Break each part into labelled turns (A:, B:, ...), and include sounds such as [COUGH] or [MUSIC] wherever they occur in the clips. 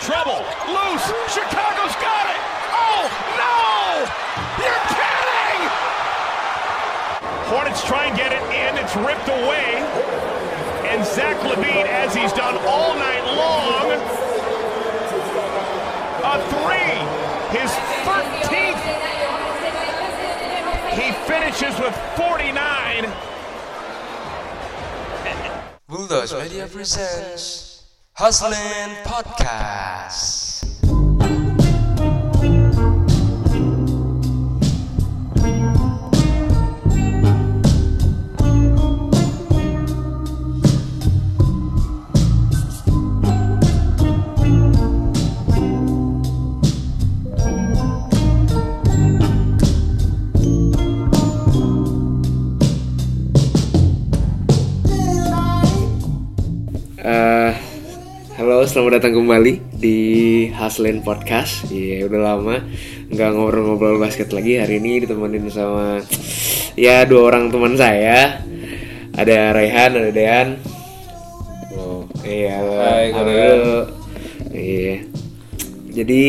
A: trouble. Loose. Chicago's got it. Oh, no! You're kidding! Hornets try and get it in. It's ripped away. And Zach Levine, as he's done all night long, a three. His 13th. He finishes with 49.
B: Bulldogs Media presents Hustling Podcast.
C: Eh, halo, selamat datang kembali di Haslin Podcast. Iya, udah lama nggak ngobrol-ngobrol basket lagi. Hari ini ditemenin sama ya dua orang teman saya. Ada Raihan, ada Dean. Iya,
D: Hai,
C: halo.
D: kalian.
C: Iya. Jadi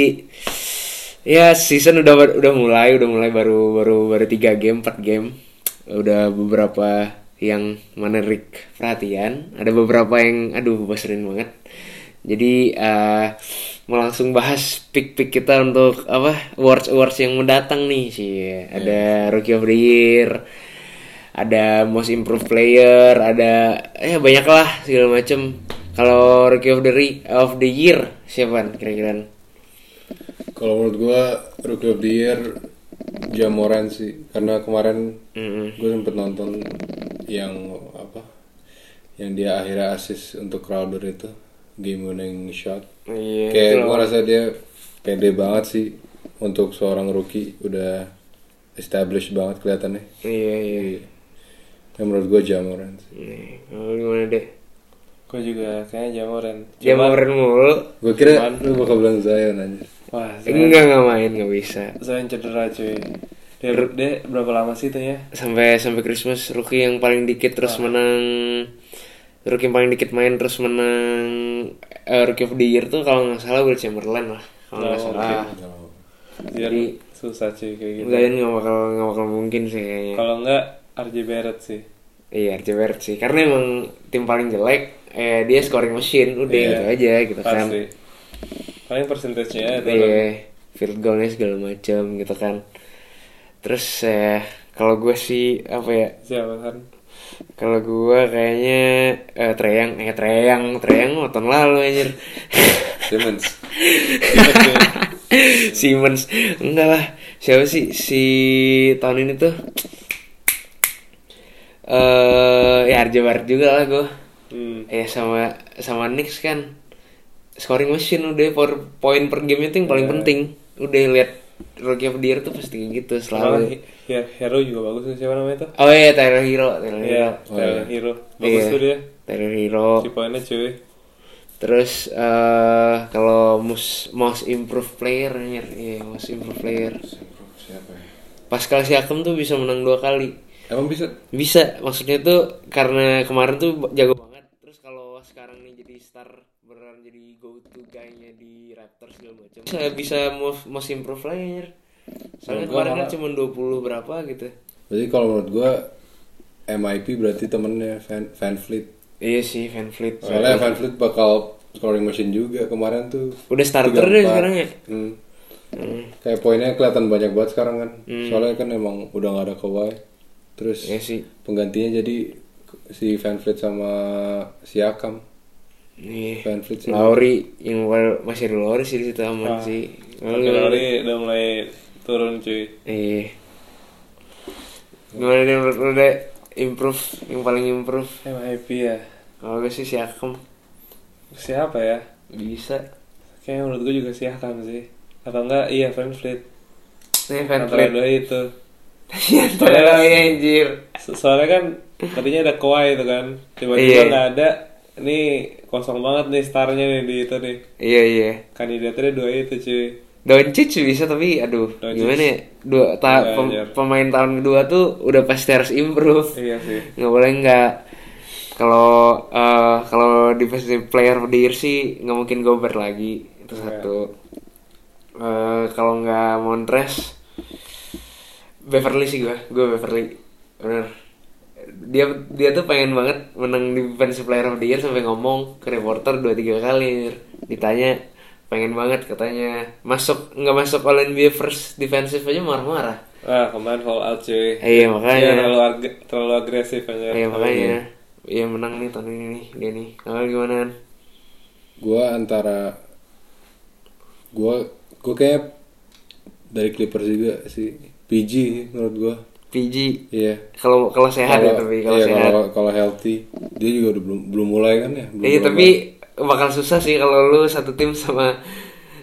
C: ya season udah udah mulai, udah mulai baru baru baru 3 game, 4 game. Udah beberapa yang menarik perhatian, ada beberapa yang aduh bosenin banget. Jadi eh, mau langsung bahas pick-pick kita untuk apa awards awards yang mendatang nih sih.
D: Ya.
C: Ada Rookie of the Year, ada most improved player, ada eh banyak lah segala macem. Kalau rookie of the Re- of the year siapa kira-kira?
D: Kalau menurut gua Rookie of the Year Jamoran sih karena kemarin
C: Mm-mm.
D: gue sempet nonton yang apa yang dia akhirnya asis untuk Crowder itu game winning shot
C: Iya. itu
D: kayak
C: loh.
D: gue rasa dia pede banget sih untuk seorang rookie udah established banget kelihatannya
C: Iya iya.
D: yang menurut gue Jamoran sih
C: Nih, Lu gimana deh?
E: Gue juga kayaknya Jamoran.
C: Dia mau
E: Cuman-
C: keren mulu.
D: gue kira lu bakal bilang Zion anjir
E: Wah, Zion,
C: Enggak nggak main nggak bisa.
E: Zion cedera cuy. Dia, dia berapa lama sih itu ya?
C: Sampai sampai Christmas rookie yang paling dikit terus
E: Ah.
C: menang rookie yang paling dikit main terus menang eh, rookie of the year tuh kalau nggak salah Will Chamberlain lah kalau nggak
E: Oh,
C: salah.
E: Zion susah cuy kayak gitu.
C: Zion nggak bakal nggak bakal mungkin sih kayaknya.
E: Kalau enggak RJ Barrett sih.
C: Iya, RC Barrett sih. Karena emang tim paling jelek, eh dia scoring machine, udah
E: Iya.
C: gitu aja gitu kan.
E: Pasti. Paling persentasenya ya, itu
C: Iya, field goalnya segala macam gitu kan. Terus eh kalau gue sih apa ya?
E: siapa kan?
C: Kalau gue kayaknya eh Treyang, eh Treyang, Treyang mah tahun lalu anjir. [LAUGHS]
D: Simmons
C: Simmons enggak lah siapa sih si tahun ini tuh eh ya RJ Barrett juga lah gue
E: Hmm.
C: Ya sama sama Knicks kan scoring machine udah per poin per game itu yang paling
E: Iya.
C: penting. Udah lihat Rookie of the Year tuh pasti kayak gitu
E: Kalau
C: selalu.
E: Hero juga bagus tuh siapa namanya itu?
C: Oh iya Tyler Hero, Tyler Hero.
E: Iya,
D: Oh, iya.
E: Tyler Hero. Bagus
C: Iya, Oh.
E: tuh dia.
C: Tyler Hero.
E: Si poinnya cuy.
C: Terus eh kalau most most improved player anjir. Iya, most improved player.
D: siapa ya
C: Pascal Siakam tuh bisa menang dua kali.
D: emang bisa
C: Bisa, maksudnya tuh karena kemarin tuh jago banget. Terus kalau sekarang nih jadi star beneran jadi go to guy-nya di Raptors segala macam. Bisa bisa most, most improve player. Soalnya kemarin kan cuma 20 berapa gitu.
D: Berarti kalau menurut gua MIP berarti temennya Van, Van Fleet.
C: Iya sih Van Fleet.
D: Soalnya Van Fleet bakal scoring machine juga kemarin tuh.
C: Udah starter deh
D: 34.
C: sekarang ya.
D: Hmm. Kayak poinnya kelihatan banyak banget sekarang kan. Soalnya kan emang udah nggak ada Kawhi. Terus
C: Hmm. Iya sih.
D: penggantinya jadi si Van Fleet sama Siakam.
C: Iya.
D: Van Fleet sih.
C: Lauri yang wal- masih ada Lauri sih di situ aman sih. Lalu
E: Tapi
C: gimana?
E: Lori udah mulai turun cuy.
C: Iya. Gimana deh menurut lu deh improve yang paling improve?
E: MIP ya.
C: Kalau gue sih Siakam
E: Siapa ya?
C: bisa.
E: Kayaknya menurut gue juga Siakam sih Atau enggak, iya Van Fleet
C: Nih Van
E: Antara ya.
C: Fleet. [LAUGHS]
E: dua itu
C: Tolong ya anjir.
E: So- Soalnya kan tadinya ada Kawhi itu kan
C: Iya.
E: Tiba-tiba nggak ada Ini kosong banget nih starnya nih di itu nih
C: Iya iya.
E: Kandidatnya dua itu cuy
C: Doncic bisa tapi aduh
E: Doncic.
C: gimana ya? Dua ta-
E: Nggak,
C: pem-
E: anjir.
C: pemain tahun kedua tuh udah pasti harus improve.
E: Iya sih
C: Nggak boleh nggak kalau eh, kalau defensive player of the year sih nggak mungkin Gobert lagi. satu Eh, kalau nggak Montres Beverly sih gue gue Beverly bener dia dia tuh pengen banget menang defensive player of the year sampai ngomong ke reporter dua tiga kali ditanya pengen banget katanya masuk nggak masuk all NBA first defensive aja marah-marah
E: Ah, kemarin fall out cuy.
C: Eh, iya, makanya.
E: Dia terlalu ag- terlalu agresif
D: Iya,
E: aja.
C: ya makanya ya menang nih tahun ini nih dia nih kalau gimana An?
D: Gua antara gua gua kayak dari Clippers juga sih. PG sih menurut gua.
C: PG
D: Iya.
C: kalau kalau sehat ya
D: Kalau-
C: tapi kalau
D: iya,
C: sehat
D: kalau kalau healthy dia juga udah belum belum mulai kan ya. Belum
C: Iya
D: mulai
C: tapi bakal susah sih kalau lu satu tim sama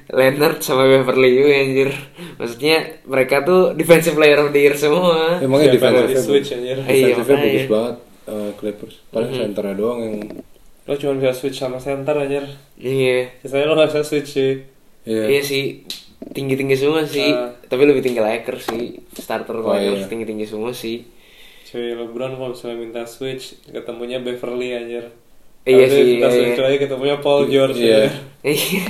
C: Leonard sama Beverly Yu anjir. Maksudnya mereka tuh defensive player of the year semua.
D: banget. Emangnya
E: Siapa
D: Eh,
E: yang
D: defensive
E: Iya, di switch anjir?
C: Iya,
D: defensive
C: makanya. Mm-hmm.
D: bagus banget eh, Clippers. Paling centernya doang yang
E: Lo cuma bisa switch sama center anjir.
C: Iya.
E: Sisanya lo gak bisa switch cuy.
D: iya.
C: Iya sih tinggi-tinggi semua sih.
E: Ah.
C: Tapi lebih tinggi Lakers sih. Starter
D: Oh,
C: Lakers
D: iya.
C: tinggi-tinggi semua sih.
E: Cuy, LeBron kalau misalnya minta switch, ketemunya Beverly anjir.
C: Iya
E: Tapi
C: sih,
E: Minta
C: iya,
E: switch
C: iya.
E: lagi ketemunya Paul George.
D: Iya.
E: anjir.
C: Iya.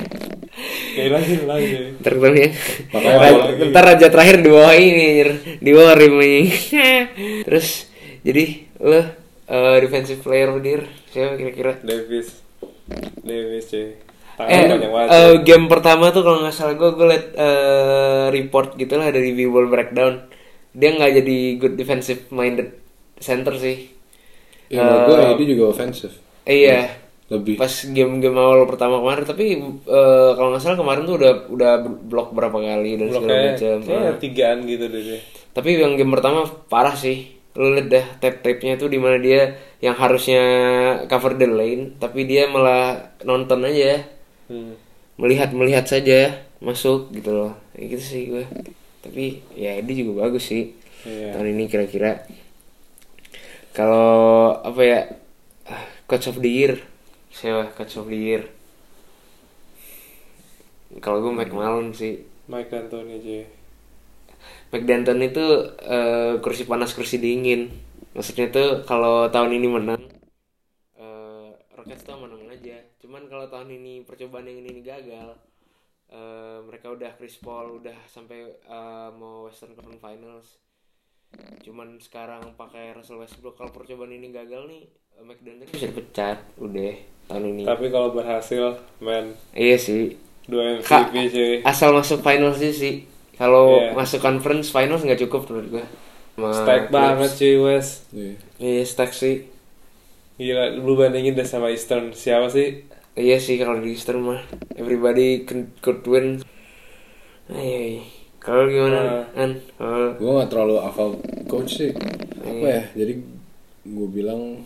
E: Kayak lagi lagi. cuy.
C: Ntar ketemu ya.
D: Makanya
C: Ra-
D: kalau lagi-
C: Ntar raja terakhir di bawah ini anjir. Di bawah rim anjing. [LAUGHS] Terus jadi lo eh, defensive player of the year siapa kira-kira?
E: Davis. Davis cuy. Tangan
C: Eh,
E: banyak banget.
C: eh,
E: cuy.
C: game pertama tuh kalau nggak salah gue gue liat eh, report gitu lah dari Ball Breakdown dia nggak jadi good defensive minded center sih
D: Ya, menurut gua
C: Eh,
D: AD juga offensive.
C: Eh, iya
D: Lebih.
C: pas game-game awal pertama kemarin tapi eh, kalau nggak salah kemarin tuh udah udah blok berapa kali dan segala
E: Bloknya
C: macam
E: kayaknya
C: Ah.
E: tigaan gitu deh dia.
C: tapi yang game pertama parah sih lu liat dah tape-tapenya tuh dimana dia yang harusnya cover the lane tapi dia malah nonton aja
E: Hmm.
C: melihat melihat saja masuk gitu loh Ya gitu sih gue tapi ya Edi juga bagus sih
E: Iya.
C: tahun ini kira-kira kalau apa ya ah, coach of the year siapa coach of the year kalau gue Mike Malone sih
E: Mike D'Antoni cuy.
C: Hmm. Mike Danton itu eh, kursi panas kursi dingin maksudnya tuh kalau tahun ini menang eh, Rockets tuh menang aja cuman kalau tahun ini percobaan yang ini, ini gagal eh, mereka udah Chris Paul udah sampai eh, mau Western Conference Finals cuman sekarang pakai Russell Westbrook kalau percobaan ini gagal nih eh, Mike Danton bisa dipecat udah tahun ini
E: Tapi kalau berhasil, man,
C: iya sih
E: dua MVP
C: Kak,
E: cuy.
C: asal masuk finals aja sih kalau
E: Iya.
C: masuk conference finals nggak cukup menurut gua Ma-
E: Stack banget cuy West.
D: Iya.
C: iya stack sih
E: Gila, lu bandingin deh sama Eastern. Siapa sih?
C: iya sih kalau di Eastern mah everybody can, could win Ay, ay. kalau gimana an Kalau-
D: gue nggak terlalu hafal coach sih apa
C: Iya.
D: ya jadi gue bilang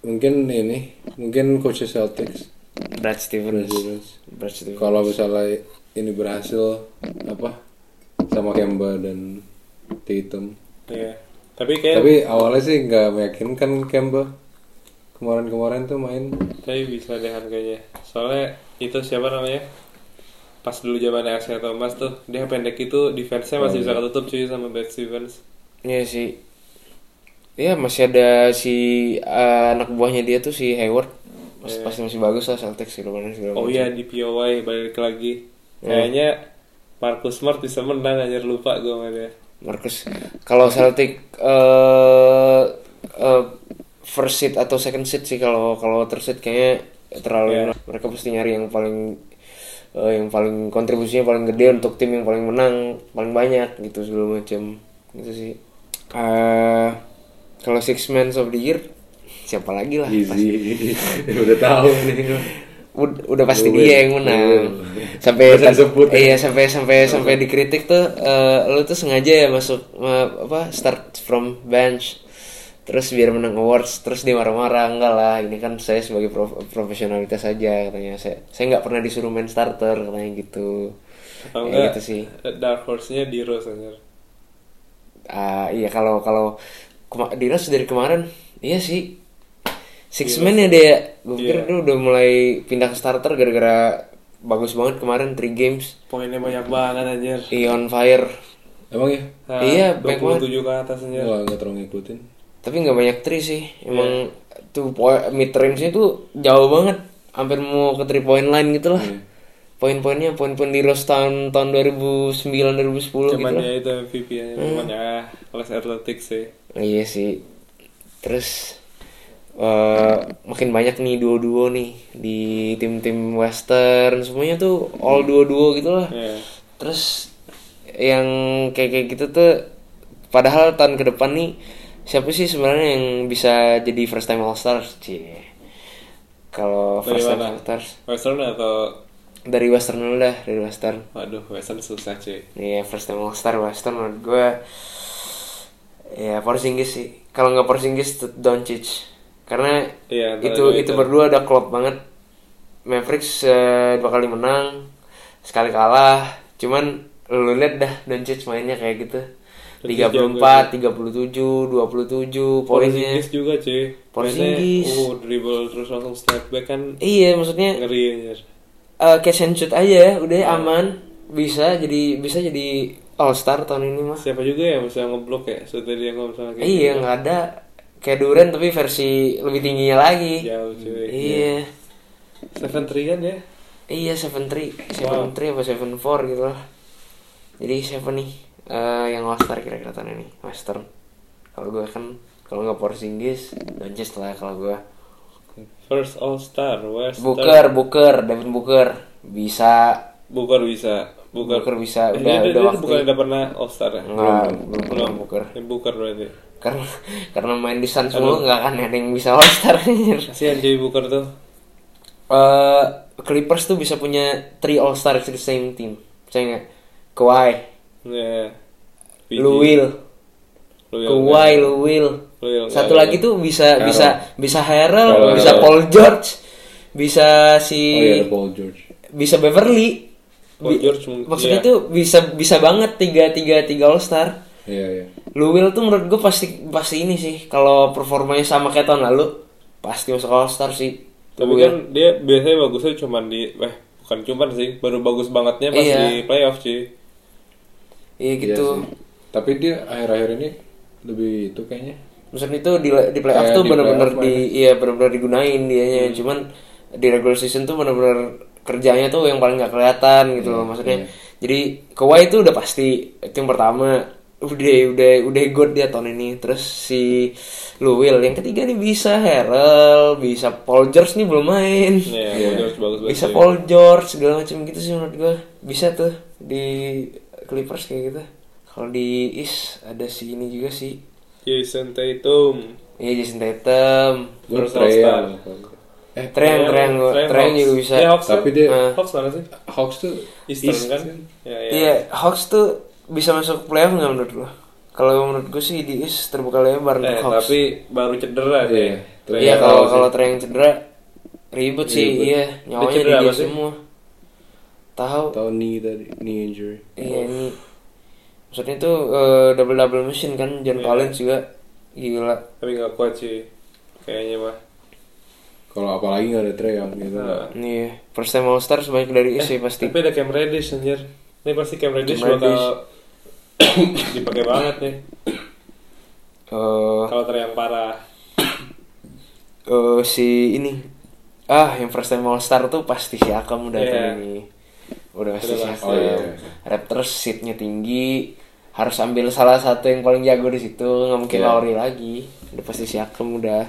D: mungkin ini mungkin coach Celtics
C: Brad Stevens
D: Stevens.
C: Brad Stevens
D: kalau misalnya ini berhasil apa sama Kemba dan Tatum
E: Iya. Tapi kayak tapi,
D: tapi awalnya sih nggak meyakinkan Kemba kemarin-kemarin tuh main
E: bisa deh harganya. Soalnya itu siapa namanya? Pas dulu zaman Isaiah Thomas tuh, dia pendek itu defense-nya
C: Oh,
E: masih bisa ketutup cuy sama Brad Stevens.
C: iya sih Iya masih ada si eh, anak buahnya dia tuh si Hayward Mas, pasti masih bagus lah Celtics segala macam segala
E: Oh
C: macam.
E: iya di POY balik lagi.
C: Oh.
E: Kayaknya Marcus Smart bisa menang anjir lupa gue sama dia.
C: Marcus kalau Celtic eh eh, first seed atau second seed sih kalau kalau third seed kayaknya terlalu mereka pasti nyari yang paling eh, yang paling kontribusinya paling gede untuk tim yang paling menang paling banyak gitu segala macam gitu sih Eh, kalau six man of the year siapa lagi lah pasti.
D: easy [LAUGHS] udah tahu nih
C: Ud- udah pasti
D: Lu
C: dia
D: win.
C: yang menang
D: Lu
C: sampai
D: Bisa disebut
C: iya
D: ya.
C: sampai sampai sampai dikritik tuh eh, lu tuh sengaja ya masuk eh, apa start from bench terus biar menang awards terus dia marah-marah enggak lah ini kan saya sebagai prof- profesionalitas saja katanya saya saya nggak pernah disuruh main starter katanya gitu Ya,
E: Kalau enggak,
C: gitu sih
E: Dark Horse-nya di Rose anjir.
C: Ah, iya kalau kalau kema- Dinas dari kemarin iya sih six man ya dia gue pikir
E: Iya.
C: dia udah mulai pindah ke starter gara-gara bagus banget kemarin three games
E: Poinnya banyak
C: Hmm.
E: banget anjir.
C: Iya on fire.
D: emang ya
E: Nah,
C: Iya, banyak banget.
E: 27 ke atas anjir.
D: gue nggak terlalu ngikutin
C: Tapi nggak banyak three sih.
E: Iya.
C: Emang tuh po- mid range-nya tuh jauh banget. Hampir mau ke three point line gitu lah.
D: Iya.
C: poin-poinnya poin-poin di Rose tahun tahun 2009 2010 gitu
E: Cuman
C: lah. Hmm.
E: ya itu MVP aja. Cuman ya kelas atletik sih.
C: Iya sih. Terus eh, makin banyak nih duo-duo nih di tim-tim western semuanya tuh all duo-duo gitu lah.
E: Iya.
C: Terus yang kayak kayak gitu tuh padahal tahun ke depan nih siapa sih sebenarnya yang bisa jadi first time all stars sih? Kalau
E: Dari
C: first time
E: mana?
C: all stars
E: Western atau
C: dari western dulu dah, dari western.
E: Waduh, Western susah cuy.
C: Iya first time all star Western menurut gue ya Porzingis sih. Kalau nggak Porzingis tetep Doncic karena
E: Iya, antara
C: itu
E: dua
C: itu
E: itu.
C: berdua udah klop banget. Mavericks eh, dua kali menang, sekali kalah. Cuman lu lihat dah Doncic mainnya kayak gitu.
E: Doncic
C: 34, 37, 27 poinnya.
E: Porzingis juga cuy.
C: Porzingis.
E: Mainnya, Uh, dribble terus langsung step back kan
C: Iya, maksudnya
E: ngeri anjir.
C: eh cash and shoot aja, udah
E: Iya.
C: aman, bisa jadi bisa jadi All Star tahun ini mah.
E: Siapa juga yang bisa ngeblok ya? So tadi yang kalau misalnya kayak
C: Iya
E: gitu.
C: nggak ada kayak Duren tapi versi lebih tingginya lagi.
E: Jauh cuy.
C: Iya,
E: Seven three kan ya?
C: iya seven three, seven three apa seven four gitu lah. Jadi siapa nih eh, yang All-Star kira-kira tahun ini Western? Kalau gue kan kalau nggak Porzingis, Doncic lah kalau gue.
E: First All Star Western.
C: Booker, Booker, David Booker bisa
E: Booker bisa. Booker,
C: Booker bisa,
E: Eh,
C: udah-
E: dia,
C: udah
E: dia,
C: waktunya.
E: bukan udah pernah All Star ya?
C: nggak belum pernah Booker
E: Ini Booker berarti.
C: karena [LAUGHS] karena main di Suns mulu nggak akan ada yang bisa All-Star. anjir.
E: Kasihan cuy Booker tuh.
C: [LAUGHS] eh Clippers tuh bisa punya three all star di same team. Percaya nggak? Kawhi,
E: Ya. PG.
C: Lu Will,
E: Lu yang-
C: Kawhi, Lu Will.
E: Lu ya. yang-
C: Satu lagi tuh bisa bisa bisa Harrell,
D: Harrell.
C: bisa Paul George, bisa si
D: Oh iya, ada Paul Iya. George.
C: bisa Beverly.
E: Paul George mungkin,
C: Maksudnya
E: iya.
C: tuh bisa bisa banget tiga tiga tiga all star.
D: Iya, iya.
C: Lu Will tuh menurut gue pasti pasti ini sih kalau performanya sama kayak tahun lalu pasti masuk all star sih. Tuh
E: Tapi
C: Will.
E: kan dia biasanya bagusnya cuman di eh bukan cuman sih, baru bagus bangetnya pas
C: Iya.
E: di playoff cuy.
C: iya
D: Iya
C: gitu.
D: sih. Tapi dia akhir-akhir ini lebih itu kayaknya.
C: Maksudnya itu di, di playoff
D: Kayak
C: tuh
D: di
C: bener-bener
D: playoff Hmm.
C: di iya bener-bener digunain dianya cuman di regular season tuh bener-bener kerjanya tuh yang paling nggak kelihatan gitu
D: Iya,
C: loh maksudnya. Jadi Kawhi itu udah pasti tim pertama udah udah udah god dia tahun ini terus si Luwil yang ketiga nih bisa Harrell bisa Paul George nih belum main
E: Iya, Paul George bagus banget.
C: bisa
E: cuy.
C: Paul George segala macam gitu sih menurut gua bisa tuh di Clippers kayak gitu kalau di East ada si ini juga sih
E: Jason Tatum.
C: Iya Jason Tatum
D: Gue
E: Terus All-Star.
D: Trae. Eh,
C: Treyang, Treyang, gua- Treyang
E: Hawks.
C: juga bisa
E: Iya, Hawks
D: Tapi
E: kan?
D: dia-
E: Eh, Hawks mana sih?
D: Hawks tuh
E: Eastern
D: East
E: kan? Iya, iya.
C: Iya, Hawks tuh bisa masuk playoff nggak menurut lo? Kalau menurut gue sih di East terbuka lebar untuk
E: Eh,
C: Hawks
E: tapi baru cedera
D: Iya,
E: deh.
D: Trae
C: Iya
D: Young
C: kalau
D: sih.
C: kalau Treyang cedera ribet sih, iya nyawanya
E: cedera
C: di dia
E: apa sih?
C: semua. Tahu?
D: Tahu knee tadi, knee injury.
C: Iya ini maksudnya tuh double double machine kan
E: Iya.
C: John Collins juga gila.
E: Tapi nggak kuat sih. Kayaknya mah.
D: Kalau apalagi nggak ada Trae Young gitu.
E: Nah.
C: Iya, first time All Star sebanyak dari East Iya sih pasti.
E: Eh, Tapi ada Cam Reddish anjir. Ini pasti Cam Reddish
C: Cam
E: bakal [COUGHS] dipakai banget nih.
C: Eh,
E: Kalau Trae yang parah.
C: eh si ini ah yang first time all star tuh pasti si Akam udah
E: Iya.
C: tahun ini udah pasti
E: Udah
C: si
E: pasti.
C: Akam
D: Oh, iya.
C: Raptors seatnya tinggi harus ambil salah satu yang paling jago di situ nggak mungkin
D: Iya.
C: Lowry lagi udah pasti si Akam udah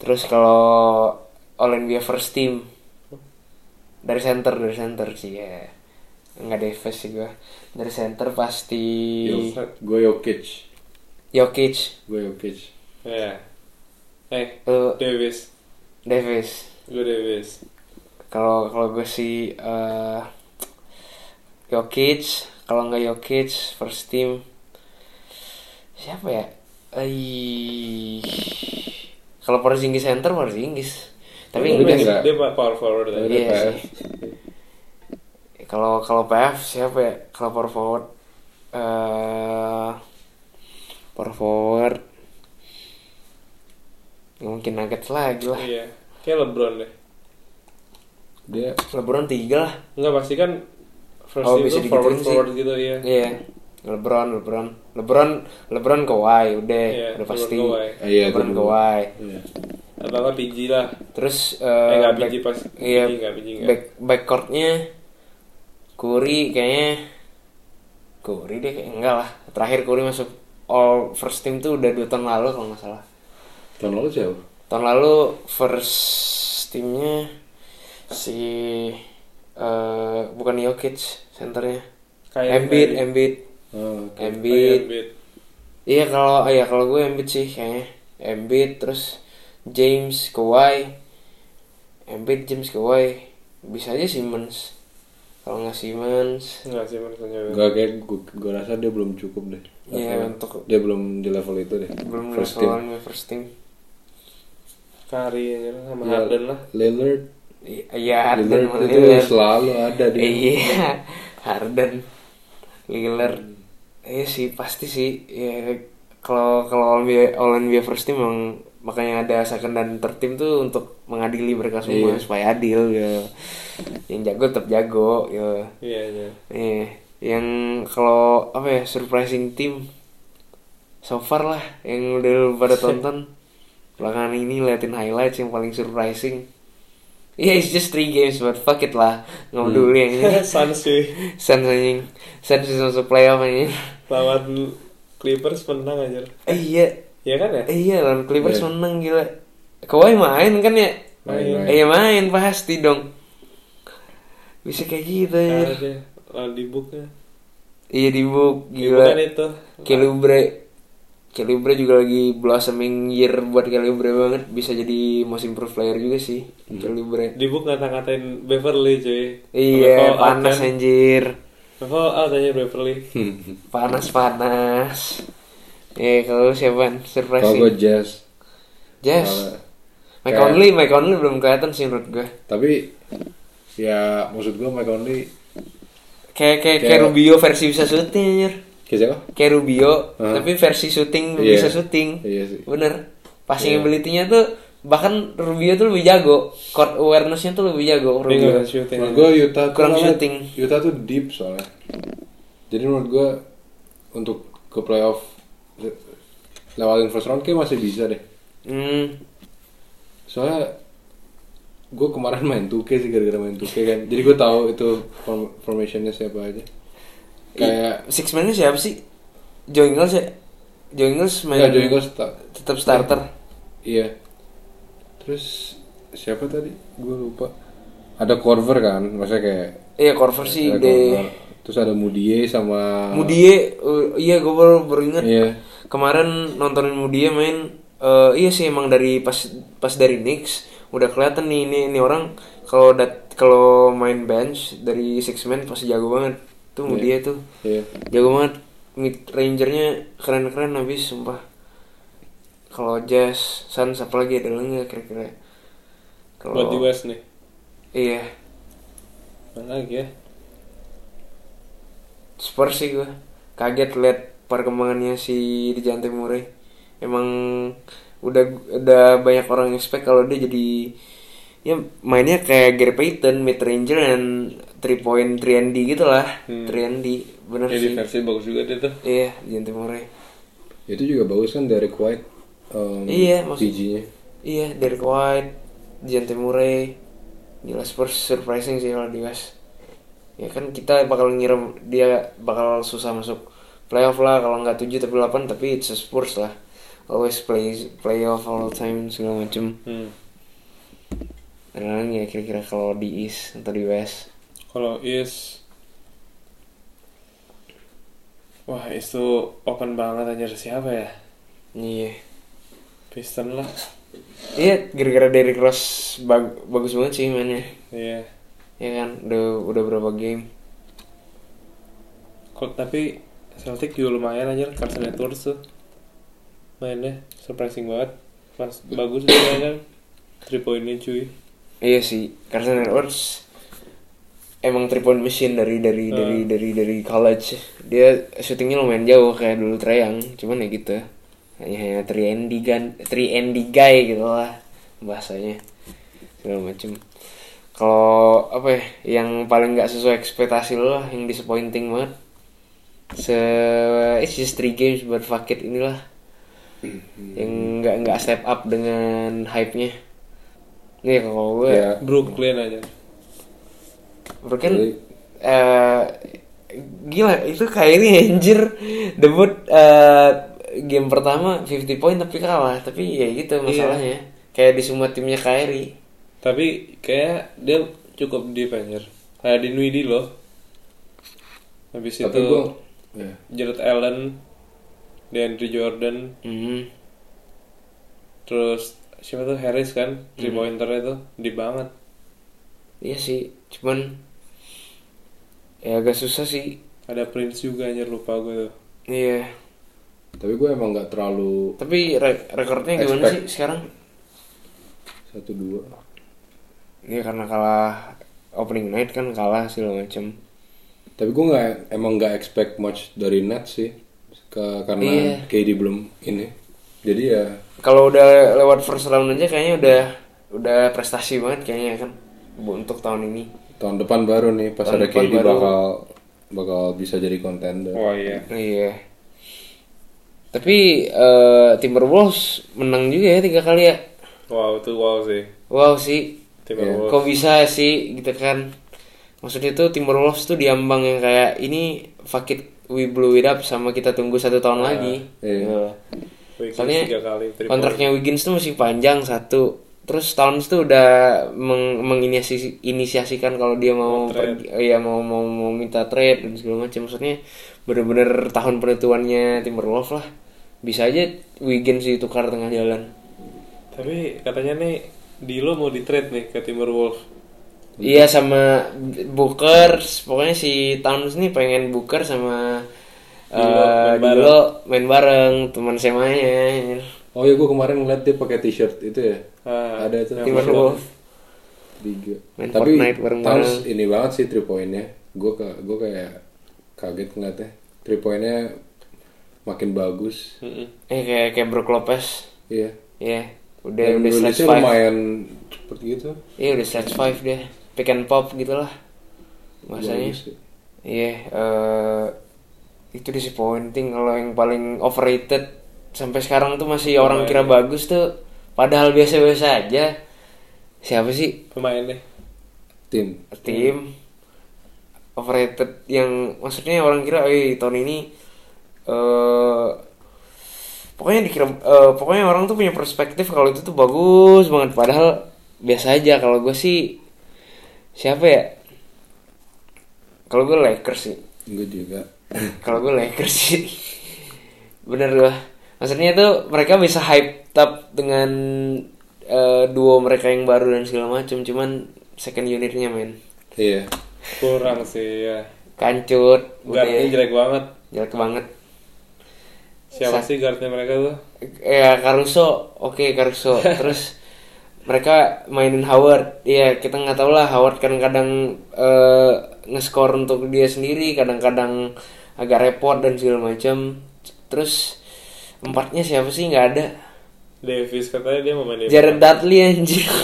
C: terus kalau All NBA first team dari center dari center sih ya nggak Davis sih gua dari center pasti iya.
D: Gue Iya. Jokic.
C: Jokic
D: Gue Jokic.
E: Iya. Eh,
C: Eh,
E: Davis.
C: Davis
E: Gue Davis.
C: kalau kalau gue sih eh Jokic kalau nggak Jokic first team siapa ya Ai. kalau Porzingis center Porzingis tapi
D: Tapi
C: udah
D: dia nggak-
E: Dia power forward aja.
C: Iya
D: PF.
C: sih. kalau kalau PF siapa ya kalau power forward eh power forward nggak mungkin Nuggets lagi lah
E: Iya. Kayak LeBron deh.
D: Dia
C: LeBron tiga lah
E: Enggak pasti kan first
C: Oh,
E: team
C: bisa
E: tuh
C: digituin
E: forward
C: sih.
E: forward gitu iya.
C: Iya. LeBron, LeBron, LeBron, LeBron Kawhi udah,
E: Iya,
C: udah
E: LeBron
C: pasti.
E: Kawhi.
D: Ah, iya, itu
C: LeBron
D: dulu.
C: Kawhi.
D: Iya.
E: atau nggak PG lah
C: Terus
E: eh
C: eh
E: nggak
C: back-
E: PG pas
C: iya,
E: PG nggak PG nggak
C: back backcourtnya Curry kayaknya Curry deh kayak enggak lah. Terakhir Curry masuk All First Team tuh udah 2 tahun lalu kalau nggak salah.
D: Tahun lalu siapa?
C: Tahun lalu First Teamnya si eh bukan Jokic senternya.
E: Kayak-
C: Embiid,
E: kayak-
C: Embiid,
D: Oh, oke.
C: Embiid.
E: Embiid.
C: Iya kalau ya kalau gue Embiid sih kayaknya Embiid terus James Kawhi Embiid James Kawhi bisa aja Simmons kalau nggak Simmons
E: nggak sih maksudnya
D: Gak kayak gue, gue rasa dia belum cukup deh.
C: Iya,
D: Kayak
C: untuk-
D: dia belum di level itu deh.
C: belum
D: First
C: level
D: team.
C: first team
E: Kari aja lah, sama
D: Ya,
E: Harden lah
D: Lillard,
C: iya Harden
D: Lillard
C: sama
D: itu
C: Lillard.
D: selalu ada di. [LAUGHS]
C: iya [LAUGHS] Harden Lillard iya sih pasti sih ya kalau kalau All NBA, All NBA first team memang makanya ada second dan third team tuh untuk mengadili mereka semua
D: Iya.
C: supaya adil ya yang jago tetap jago ya
E: iya iya
C: Iya. yang kalau apa ya surprising team so far lah yang udah lu pada tonton belakangan ini liatin highlights yang paling surprising Iya, it's just three games, but fuck it lah. Nggak
E: Hmm.
C: peduli yang
E: [LAUGHS]
C: ini.
E: Suns cuy
C: Suns anjing. Suns bisa masuk playoff anjing.
E: lawan Clippers menang aja
C: Eh, iya,
E: ya kan ya
C: eh, iya lawan Clippers
D: Iya.
C: menang gila. Kawhi main kan ya?
D: Main,
E: Main.
D: main.
C: Eh, iya main pasti dong. Bisa kayak gitu
E: Kalah
C: anjir.
E: dia lawan di booknya
C: Iya di book
E: di
C: gila.
E: bukan itu
C: Calibre Calibre juga lagi blossoming year buat Calibre banget bisa jadi most improved player juga sih
D: Hmm.
C: Calibre
E: di book ngata-ngatain Beverly cuy
C: iya
E: Level out
C: panas
E: kan.
C: anjir
E: level out aja Beverly
C: panas panas eh kalau lu siapa
D: Kalau gue
C: surprising
D: Jazz,
C: Jazz
D: Kalau-
C: Mike
D: kayak-
C: Conley Mike Conley belum kelihatan sih menurut gue
D: tapi ya maksud gue Mike Conley
C: kayak kayak kayak
D: Kayak-
C: Rubio versi bisa syuting anjir
D: kayak siapa?
C: kayak Rubio
D: Hah?
C: tapi versi syuting
D: Iya.
C: bisa syuting
D: Iya sih.
C: bener passing ability-nya tuh bahkan Rubio tuh lebih jago court awareness-nya tuh lebih jago
E: dia nggak
C: Rubio
E: bisa shooting
D: Menurut gue Utah tuh
C: Kurang
D: lawan-
C: shooting.
D: Utah tuh deep soalnya. Jadi menurut gue untuk ke playoff le- lewatin first round kayak masih bisa deh.
C: hmm
D: Soalnya gue kemarin main 2K sih gara-gara main 2K kan. Jadi gue tahu itu form- formationnya siapa aja. Kayak
C: six man-nya siapa sih Joe Ingles ya Joe Ingles main
D: ya Joey Costa.
C: tetap starter
D: Iya. Terus siapa tadi? Gue lupa. Ada Corver kan, maksudnya kayak
C: iya Corver sih
D: ada
C: deh
D: Korver. Terus ada Mudie sama
C: Mudie uh, iya gue baru, baru ingat
D: Iya.
C: kemarin nontonin Mudie main eh, iya sih emang dari pas pas dari Knicks udah kelihatan nih ini ini orang kalau dat kalau main bench dari six man pasti jago banget tuh Mudie tuh
D: Iya.
C: jago banget mid rangernya keren keren habis sumpah kalau Jazz Suns apalagi ada lagi nggak kira-kira
E: buat di West nih
C: iya
E: mana lagi ya
C: Spurs sih gue kaget liat perkembangannya si Dijante Murray emang udah udah banyak orang expect kalau dia jadi ya mainnya kayak Gary Payton mid ranger dan three point three and D gitu lah three and D bener
E: ya
C: sih
E: defense bagus juga dia tuh
C: iya Dijante Murray
D: Itu juga bagus kan dari White um,
C: Iya, maksud-
D: PG-nya.
C: iya Derek White Dijante Murray gila Spurs surprising sih kalau di West ya kan kita bakal ngira dia bakal susah masuk playoff lah kalau nggak 7 tapi 8 tapi it's a Spurs lah always play playoff all the time segala macem
E: hmm.
C: karena ya kira-kira kalau di East atau di West
E: kalau East wah East tuh open banget anjir siapa ya
C: iya
E: Piston lah
C: iya gara-gara Derrick Rose bag- bagus banget sih mainnya
E: iya
C: ya kan udah udah berapa game
E: Kok tapi Celtic juga lumayan aja Carson Edwards tuh mainnya surprising banget Mas, bagus juga kan three poinnya cuy
C: Iya sih, Carson Edwards emang three point machine dari dari
E: Hmm.
C: dari dari dari college. Dia syutingnya lumayan jauh kayak dulu Treyang, cuman ya gitu. Hanya hanya three and D gun, three and D guy gitu lah bahasanya segala macem. Kalau apa ya, yang paling nggak sesuai ekspektasi lo lah, yang disappointing banget. Se it's just three games but fuck it inilah. Yang nggak nggak step up dengan hype-nya. Nih kalau gue
D: Ya.
E: Brooklyn aja.
C: Brooklyn
D: Jadi-
C: eh, gila itu kayak ini anjir debut eh, game pertama 50 point tapi kalah tapi ya
D: Iya.
C: gitu masalahnya kayak di semua timnya Kyrie
E: Tapi kayak dia cukup deep anjir. Kayak di Nwidi loh. Habis
D: Tapi
E: itu
D: gue ya.
E: Jared Allen, DeAndre Jordan,
D: Hmm.
C: Mhm.
E: terus siapa tuh Harris kan, three pointernya tuh deep banget.
C: iya sih cuman ya agak susah sih
E: Ada Prince juga anjir lupa gue tuh.
C: iya
D: Tapi gue emang nggak terlalu
C: tapi re- rekornya gimana
D: Expect.
C: sih sekarang
D: satu dua.
C: Iya karena kalah opening night kan kalah segala macem
D: Tapi gue nggak emang nggak expect much dari Nets sih,
C: Iya.
D: Ke- karena KD belum ini. Jadi ya
C: Kalau udah lewat first round aja kayaknya udah udah prestasi banget kayaknya kan bu- untuk tahun ini.
D: tahun depan baru nih pas
C: Tahun
D: ada
C: depan
D: KD
C: baru.
D: bakal bakal bisa jadi kontender.
E: Oh iya.
C: Iya. Tapi eh, Timberwolves menang juga ya tiga kali ya.
E: Wow, itu wow sih.
C: Wow sih. Ya,
E: Timberwolves.
C: Kok bisa sih gitu kan? Maksudnya tuh Timberwolves tuh diambang yang kayak ini fuck it we blew it up sama kita tunggu satu tahun lagi.
D: iya.
C: Gitu.
E: Wiggins
C: Soalnya
E: tiga kali three
C: kontraknya Wiggins tuh masih panjang satu. Terus Towns tuh udah meng- menginisiasi- inisiasikan kalau dia mau
E: Mau trade.
C: pergi- eh, ya mau, mau mau minta trade dan segala macam. Maksudnya bener-bener tahun penentuannya Timberwolves lah. Bisa aja Wiggins ditukar tengah jalan.
E: point. Tapi katanya nih Dilo mau di trade nih ke Timberwolves.
C: Iya sama Booker, pokoknya si Towns nih pengen Booker sama eh,
E: Dilo main bareng.
C: Dilo main bareng teman semanya.
D: Oh ya gue kemarin ngeliat dia pakai t-shirt itu ya.
E: Ah,
D: ada itu
E: yang
C: Timberwolves.
D: tiga.
C: Main
D: Tapi
C: Fortnite bareng-bareng.
D: Towns ini banget sih three pointnya. Gue ke gue kayak kaget ngeliatnya. Three pointnya makin bagus.
E: Mm-mm.
C: Eh kayak kayak Brook Lopez.
D: Iya.
C: Iya, udah
D: Dan
C: udah sledge
D: release-nya
C: five.
D: lumayan seperti gitu.
C: Iya udah sledge five dia, pick and pop gitulah. Masanya,
D: Bagus sih.
C: iya eh, itu disappointing kalau yang paling overrated sampai sekarang tuh masih orang kira bagus tuh, padahal biasa-biasa aja. Siapa sih
E: Pemain nih.
D: Tim.
C: tim overrated yang maksudnya orang kira, eh tahun ini eh pokoknya dikira eh, pokoknya orang tuh punya perspektif kalau itu tuh bagus banget padahal biasa aja kalau gue sih siapa ya kalau gue Lakers sih
D: Gue juga.
C: kalau gue Lakers sih [LAUGHS] bener gue maksudnya tuh mereka bisa hype up dengan eh, duo mereka yang baru dan segala macam cuman second unitnya men
D: Iya.
E: Kurang sih ya.
C: kancut
E: Guardnya
C: udah
E: jelek banget.
C: jelek banget
E: Siapa
C: Sa-
E: sih guardnya mereka tuh?
C: ya Caruso oke Caruso terus mereka mainin Howard ya kita nggak tahu lah Howard kan kadang eh, ngeskor untuk dia sendiri kadang-kadang agak repot dan segala macam terus empatnya siapa sih nggak ada
E: Davis katanya dia mau main di
C: Jared Dudley anjir [LAUGHS]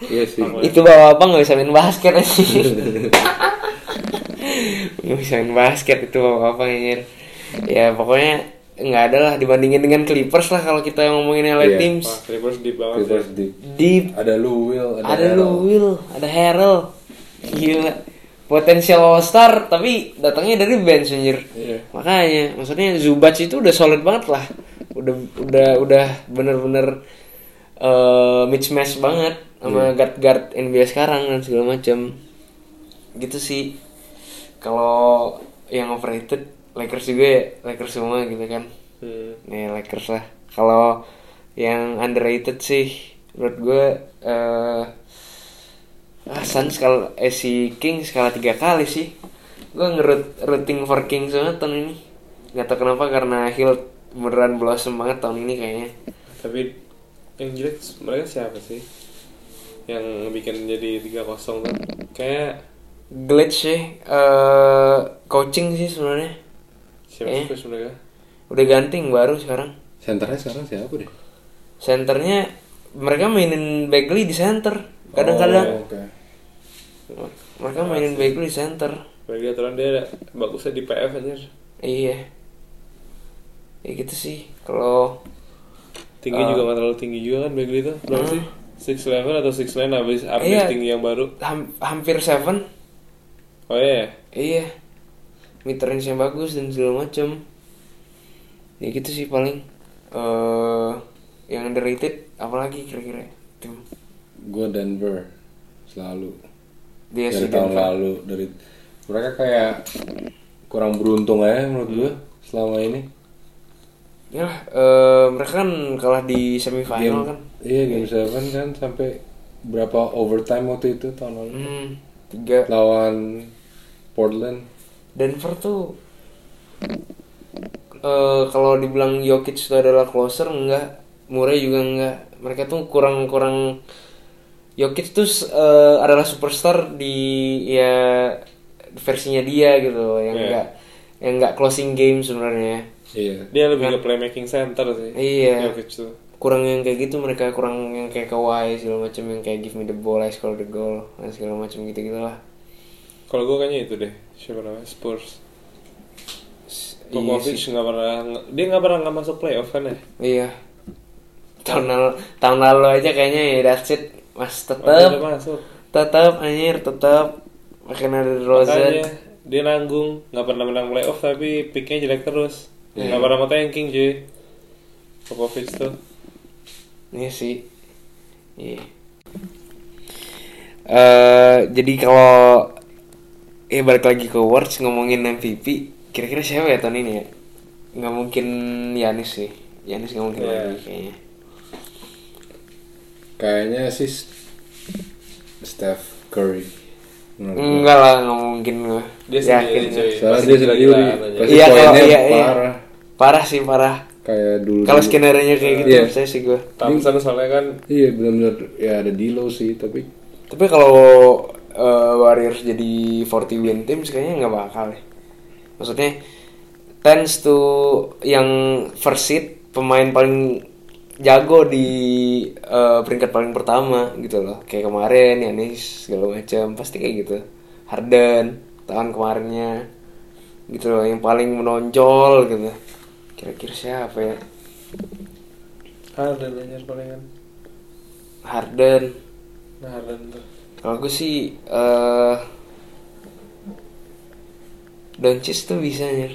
D: Iya sih.
C: itu bawa apa nggak bisa main basket anjir nggak bisa main basket itu bawa apa anjir ya pokoknya nggak ada lah dibandingin dengan Clippers lah kalau kita ngomongin LA
D: Iya.
C: Teams
E: Wah, Clippers deep banget
D: Clippers
E: sih.
D: di-
C: deep
D: Iya Ada Lou Will, ada,
C: ada
D: Harrell.
C: lu Will, ada Harold. Gila. Potensial All Star tapi datangnya dari bench anjir. Makanya maksudnya Zubac itu udah solid banget lah. Udah udah udah bener-bener eh, mismatch banget sama guard-guard NBA sekarang dan segala macam. Gitu sih. Kalau yang overrated Lakers juga ya, Lakers semua gitu kan.
E: Hmm.
C: Nih Lakers lah. Kalau yang underrated sih menurut gue eh ah, Suns kalau eh, si Kings kalah tiga kali sih. Gue ngerut rooting for Kings banget tahun ini. Gak tau kenapa karena Hill beneran blossom banget tahun ini kayaknya.
E: Tapi yang jelek mereka siapa sih? Yang bikin jadi 3-0 tuh. Kayak
C: Glitch sih, eh coaching sih sebenarnya.
E: siapa
C: Eh.
E: sih coach mereka?
C: Udah ganting baru sekarang.
D: Senternya sekarang siapa deh?
C: Centernya mereka mainin Bagley di center. Kadang-kadang
D: Oh, oke.
C: mereka mainin Bagley di center.
E: Bagi aturan dia bagusnya di PF anjir.
C: Iya. Ya gitu sih. Kalau
E: Tinggi juga nggak terlalu tinggi juga kan Bagley itu berapa sih? Six eleven atau six nine habis update
C: Ah. Iya.
E: tinggi yang baru.
C: Ham- hampir seven
E: Oh iya. ya?
C: iya mid range yang bagus dan segala macem ya gitu sih paling eh yang underrated apalagi kira-kira itu
D: Gue Denver selalu
C: dia Iya
D: dari
C: sih
D: tahun
C: Denver.
D: lalu dari mereka kayak kurang beruntung aja menurut gue
C: Hmm.
D: selama ini.
C: Yalah, eh, mereka kan kalah di semifinal kan
D: Iya game seven kan sampai berapa overtime waktu itu tahun lalu
C: hmm, tiga
D: lawan Portland.
C: Denver tuh eh kalau dibilang Jokic itu adalah closer enggak Murray juga enggak mereka tuh kurang kurang Jokic tuh eh, adalah superstar di ya versinya dia gitu yang
E: Iya.
C: enggak yang enggak closing game sebenarnya
D: Iya.
E: Dia lebih ke playmaking center sih.
C: Kan. Iya.
E: Jokic tuh.
C: kurang yang kayak gitu mereka kurang yang kayak Kawhi segala macam yang kayak give me the ball I score the goal dan segala macam gitu gitulah
E: Kalau gue kayaknya itu deh. Siapa namanya? Spurs. Popovich nggak pernah dia nggak pernah nggak masuk playoff kan ya?
C: Iya. Tahun lalu, tahun lalu aja kayaknya ya that's it. Mas tetep,
E: Udah masuk.
C: tetep anjir, tetep makin ada
E: Makanya
C: Rosen.
E: dia nanggung nggak pernah menang playoff tapi picknya jelek terus. Nggak pernah mau tanking cuy. Popovich tuh.
C: Iya sih. Iya. Eh, jadi kalau ya balik lagi ke awards ngomongin MVP, kira-kira siapa ya tahun ini ya? Nggak mungkin Yanis sih. Yanis nggak mungkin
E: Iya.
C: lagi kayaknya.
D: Kayaknya sih Steph Curry. Menurut gua.
C: Enggak lah, nggak mungkin gue.
E: Dia sendiri cuy.
D: Soalnya
E: Pasti
D: dia sendiri
E: gila nanya.
D: pasti
C: Iya, kalau-
D: poinnya
C: iya, iya.
D: parah
C: Parah sih, parah.
D: kayak dulu.
C: Kalau skenario kayak gitu,
D: Iya.
C: saya sih gue.
E: Thompson soalnya kan
D: Iya benar-benar ya ada Dilo sih tapi
C: Tapi kalau eh, Warriors jadi 40 win team kayaknya nggak bakal ya. Maksudnya tends to yang first seed pemain paling jago di eh, peringkat paling pertama gitu loh. Kayak kemarin Yanis segala macam pasti kayak gitu. Harden tahun kemarinnya gitu loh yang paling menonjol gitu. Kira-kira siapa ya?
E: Harden anjir palingan.
C: Harden
E: Nah Harden tuh.
C: Kalau gue sih eh Doncic tuh bisa nyer.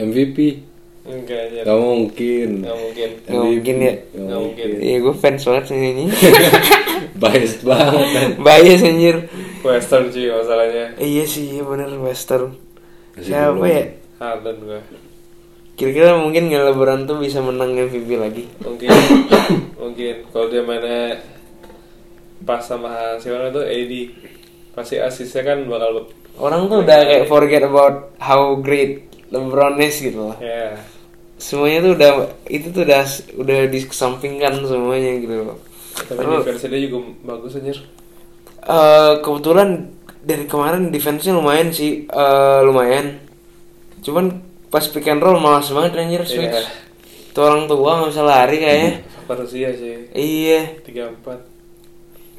D: MVP
E: Enggak anjir.
D: nggak mungkin.
E: Nggak mungkin.
D: MVP,
C: Nggak mungkin ya?
D: nggak
E: Nggak mungkin.
D: [LAUGHS]
C: Iya gue fans banget sama ini.
D: Biased banget. kan.
C: Bias anjir.
E: Western cuy masalahnya.
C: Eh, iya sih iya bener Western.
D: Masih
C: Siapa
D: belum.
C: ya?
E: Harden gue.
C: Kira-kira mungkin nggak LeBron tuh bisa menang MVP lagi.
E: Mungkin mungkin kalau dia mainnya pas sama si mana tuh AD pasti asisnya kan bakal
C: Orang tuh udah kayak forget about how great LeBron is gitu loh.
E: ya
C: Semuanya tuh udah itu tuh udah udah dikesampingkan semuanya gitu loh.
E: tapi
C: Terus-
E: defense dia juga bagus anjir
C: Eh, kebetulan dari kemarin defense-nya lumayan sih, eh, lumayan. Cuman pas pick and roll malas banget anjir switch.
E: Iya.
C: Tuh orang tua nggak bisa lari kayaknya.
E: faktor usia sih
C: Iya,
E: tiga empat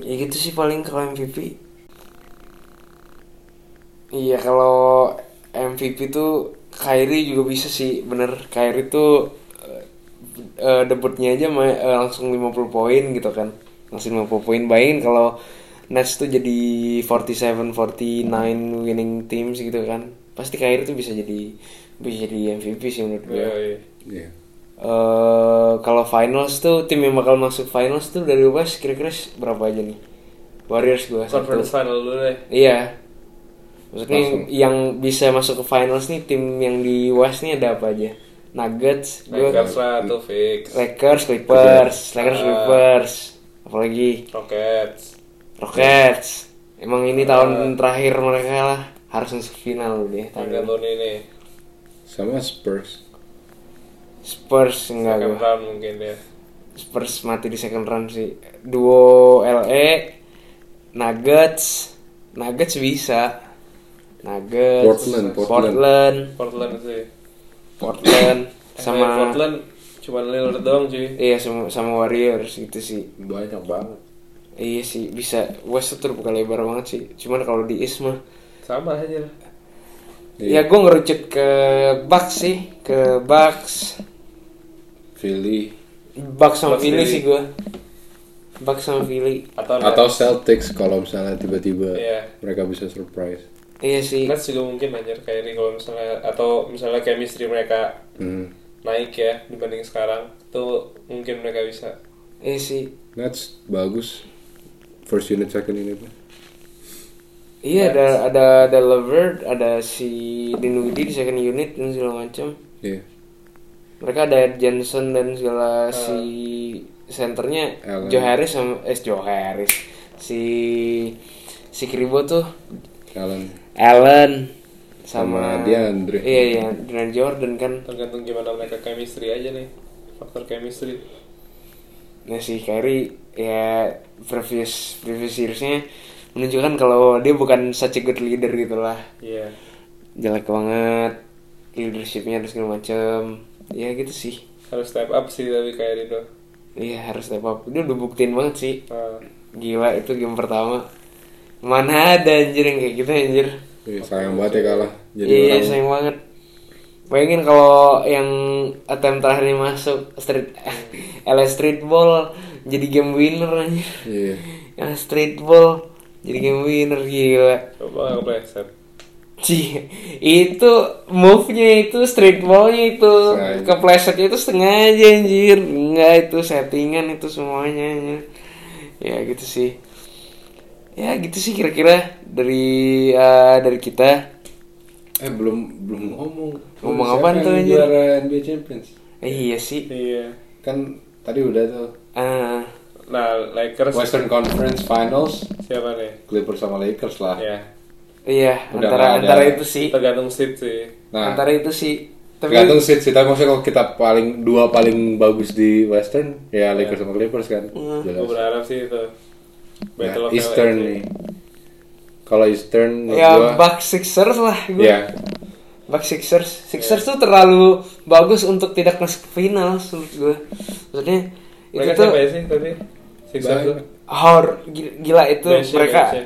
C: ya gitu sih paling kalau MVP. Iya kalau MVP tuh Kyrie juga bisa sih, bener. Kyrie tuh eh, eh, debutnya aja ma- eh, langsung 50 poin gitu kan. Langsung 50 poin bayangin kalau Nets tuh jadi 47 49 winning teams gitu kan. Pasti Kyrie tuh bisa jadi bisa jadi MVP sih menurut gue.
E: Yoi.
D: Iya.
C: Eh, kalau finals tuh tim yang bakal masuk finals tuh dari West kira-kira berapa aja nih? Warriors gua satu.
E: conference final dulu deh
C: Iya. Maksudnya
D: Langsung.
C: yang bisa masuk ke finals nih tim yang di West nih ada apa aja? Nuggets, gua-
E: Lakers lah tuh fix
C: Lakers, Clippers, Lakers, Clippers. Apalagi
E: Rockets
C: Rockets. Emang ini tahun terakhir mereka lah harus masuk final deh.
E: Tanggal
C: Tapi
E: tahun ini
D: Sama Spurs.
C: Spurs enggak
E: Second
C: gua.
E: round mungkin ya
C: Spurs mati di second round sih. Duo LE Nuggets Nuggets bisa. Nuggets
D: Portland, Portland.
C: Portland,
E: Portland sih [COUGHS]
C: Portland, sama
E: Yang main Portland cuma Lillard doang cuy
C: Iya sama, sama Warriors gitu sih.
D: Banyak banget.
C: Iya sih bisa. West tuh terbuka lebar banget sih. Cuman kalau di East mah
E: sama aja
C: ya
D: Iya,
C: gue ngerucut ke Bucks sih, ke Bucks.
D: Philly.
C: Bucks sama
E: Bucks
C: Philly
E: Philly.
C: sih gua Bucks sama Philly
E: atau
D: Atau Celtics kalau misalnya tiba-tiba
E: Iya.
D: mereka bisa surprise.
C: Iya sih
E: Nets juga mungkin anjir kayak ini kalau misalnya atau misalnya chemistry mereka
D: Hmm.
E: naik ya dibanding sekarang tuh mungkin mereka bisa
C: Iya sih
D: Nets bagus. First unit, second unit.
C: Iya
E: Nets.
C: ada ada ada Levert ada si Dinwiddie di second unit dan segala macam
D: Iya.
C: mereka ada Johnson dan segala
E: Hmm.
C: si senternya
D: Allen.
C: Joe Harris sama eh Joe Harris si si Kribo tuh
D: Allen.
C: Allen
D: Sama
C: sama,
D: DeAndre.
C: iya iya dengan Jordan kan
E: tergantung gimana mereka chemistry aja nih faktor chemistry
C: nah si Kyrie ya previous previous seriesnya menunjukkan kalau dia bukan such a good leader gitu lah
E: iya
C: jelek banget leadershipnya dan segala macem ya gitu sih
E: harus step up sih tapi kayak itu
C: iya harus step up dia udah buktiin banget sih
E: Ah,
C: Gila itu game pertama Mana ada anjir yang kayak gitu anjir
D: Iya, sayang banget ya kalah. Jadi
C: Iya
D: orang
C: sayang banget Bayangin kalau yang attempt terakhir ini masuk street eh, [LAUGHS] LA Streetball jadi game winner anjir
D: Iya.
C: yang streetball jadi game winner gila
E: coba nggak kepleset
C: Cih, itu move-nya itu streetball-nya itu
D: Sengaja.
C: keplesetnya itu sengaja anjir enggak itu settingan itu semuanya anjir. ya gitu sih ya gitu sih kira-kira dari eh, dari kita
D: Eh belum belum ngomong.
C: Ngomong
D: Siapa
C: apaan
D: yang
C: tuh, anjir?
D: Juara NBA Champions.
C: eh, iya sih
E: iya
D: Kan tadi udah tuh.
C: ah
E: nah Lakers
D: Western Conference Finals.
E: siapa nih
D: Clippers sama Lakers lah.
E: ya
C: iya
D: Udah
C: antara
D: nggak ada.
C: antara itu sih
E: tergantung seat sih
D: Nah,
C: antara itu kan- sih tapi
D: tergantung seed sih. Tapi maksudnya kalau kita paling dua paling bagus di Western, ya
E: Iya.
D: Lakers sama Clippers kan.
C: Iya.
E: gue
D: Jelas.
E: berharap sih itu
D: Nah,
E: Battle of
D: Eastern
E: LA.
D: nih. Kalau Eastern menurut
C: ya
D: gua,
C: back sixers lah gue
D: ya
C: Back Sixers.
D: Iya.
C: Sixers tuh terlalu bagus untuk tidak masuk final menurut gue. Maksudnya itu
E: mereka
C: tuh
E: siapa ya sih tapi Sixer
D: Baik.
E: tuh
C: hor gi- gila itu
E: Bench ya,
C: mereka
E: bench ya.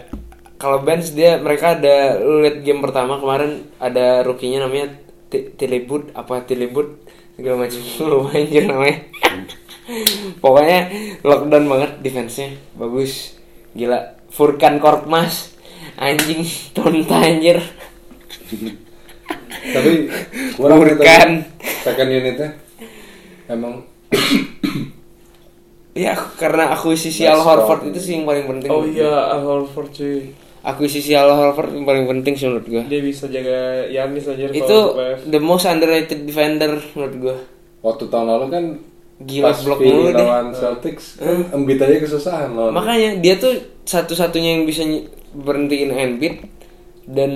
C: kalau bench dia mereka ada lu liat game pertama kemarin ada rukinya namanya Ti- Tilibut apa Tilibut segala macam [LAUGHS] lumayan anjir namanya [LAUGHS] pokoknya lockdown banget defense-nya bagus gila Furkan Korkmaz anjing [LAUGHS] tonta anjir
D: tapi kurang nih, tapi
C: Bukan.
D: second unitnya emang
C: Ya karena akuisisi Al
D: Nice
C: Horford
D: job.
C: itu sih yang paling penting.
E: oh iya Al Horford cuy
C: Akuisisi Al Horford yang paling penting sih menurut gua.
E: dia bisa jaga Yanis aja
C: Itu the most underrated defender menurut gua.
D: waktu tahun lalu kan
C: Gila,
D: pas
C: blok
D: Philly
C: mulu deh. Eh.
D: lawan Celtics kan Embiid aja kesusahan lawan
C: Makanya dia tuh satu-satunya yang bisa ny- berhentiin Embiid dan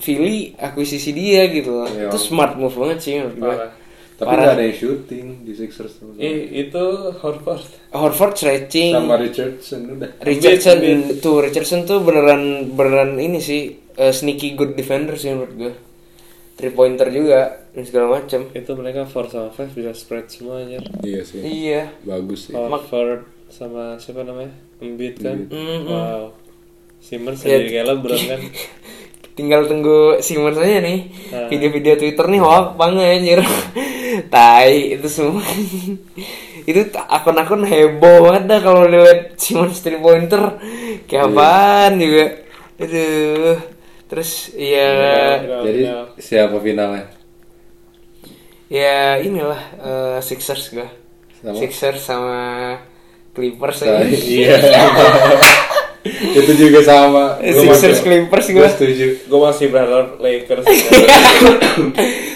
C: Philly akuisisi dia gitu. loh.
D: Iya.
C: Itu smart move banget sih menurut gua.
E: Parah.
C: Parah.
D: tapi
C: Eh.
D: nggak ada yang shooting di Sixers sama,
E: Ih, itu Horford
C: Horford stretching.
D: sama Richardson udah
C: Richardson
E: Embiid,
C: tuh Richardson tuh beneran beneran ini sih eh, sneaky good defender sih menurut gua. Three pointer juga dan segala macam.
E: itu mereka 4 sama 5 bisa spread semua anjir
D: iya sih
C: Iya.
D: bagus sih
E: Horford sama siapa namanya Embiid kan
C: Mm-mm.
E: wow Simmons
C: Ya.
E: jadi kayak LeBron kan
C: Tinggal tunggu Simmons aja nih.
D: Ah.
E: Nah.
C: Video-video Twitter nih hoax banget anjir. [LAUGHS] Tai itu semua. [LAUGHS] itu t- akun-akun heboh banget dah kalau lihat Simmons three pointer. Kayak
D: Iya.
C: apaan juga. Aduh. Terus ya
E: Final,
D: jadi
E: final.
D: siapa finalnya
C: ya inilah eh, Sixers gua.
D: Sama?
C: Sixers sama Clippers [LAUGHS]
D: Nah,
C: aja.
D: iya [LAUGHS] itu juga sama Gua
C: Sixers
D: masih-
C: Clippers
D: gua
C: gua.
D: setuju
E: gue masih berharap
C: [LAUGHS]
E: Lakers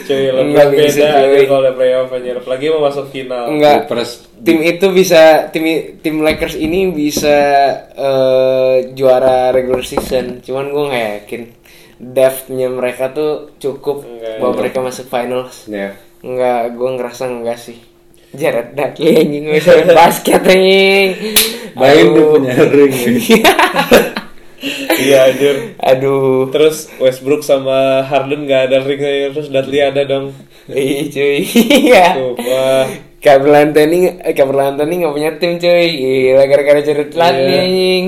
E: cuy
C: Enggak
E: lebih
C: bisa
E: beda aja
C: cuy.
E: kalau udah playoff anjir apalagi mau masuk final
C: Enggak.
D: Clippers.
C: Tim itu bisa tim tim Lakers ini bisa eh, juara regular season. Cuman gue nggak yakin depthnya mereka tuh cukup
E: Enggak,
C: bahwa
E: iya.
C: mereka masuk finals.
D: ya
C: Enggak, gue ngerasa enggak sih. Jared Dudley anjing bisa
E: [LAUGHS]
C: main basket anjing.
D: bayangin dia
C: Aduh.
D: punya ring
E: iya anjir
C: [LAUGHS] Aduh.
E: terus Westbrook sama Harden gak ada ring anjir. terus Dudley ada dong
C: Iya cuy. [LAUGHS] Iya.
E: Tuh, wah.
C: Gabriel Anthony, eh, Gabriel Anthony nggak punya tim cuy. Gila gara-gara Jared Dudley
E: Iya.
C: anjing.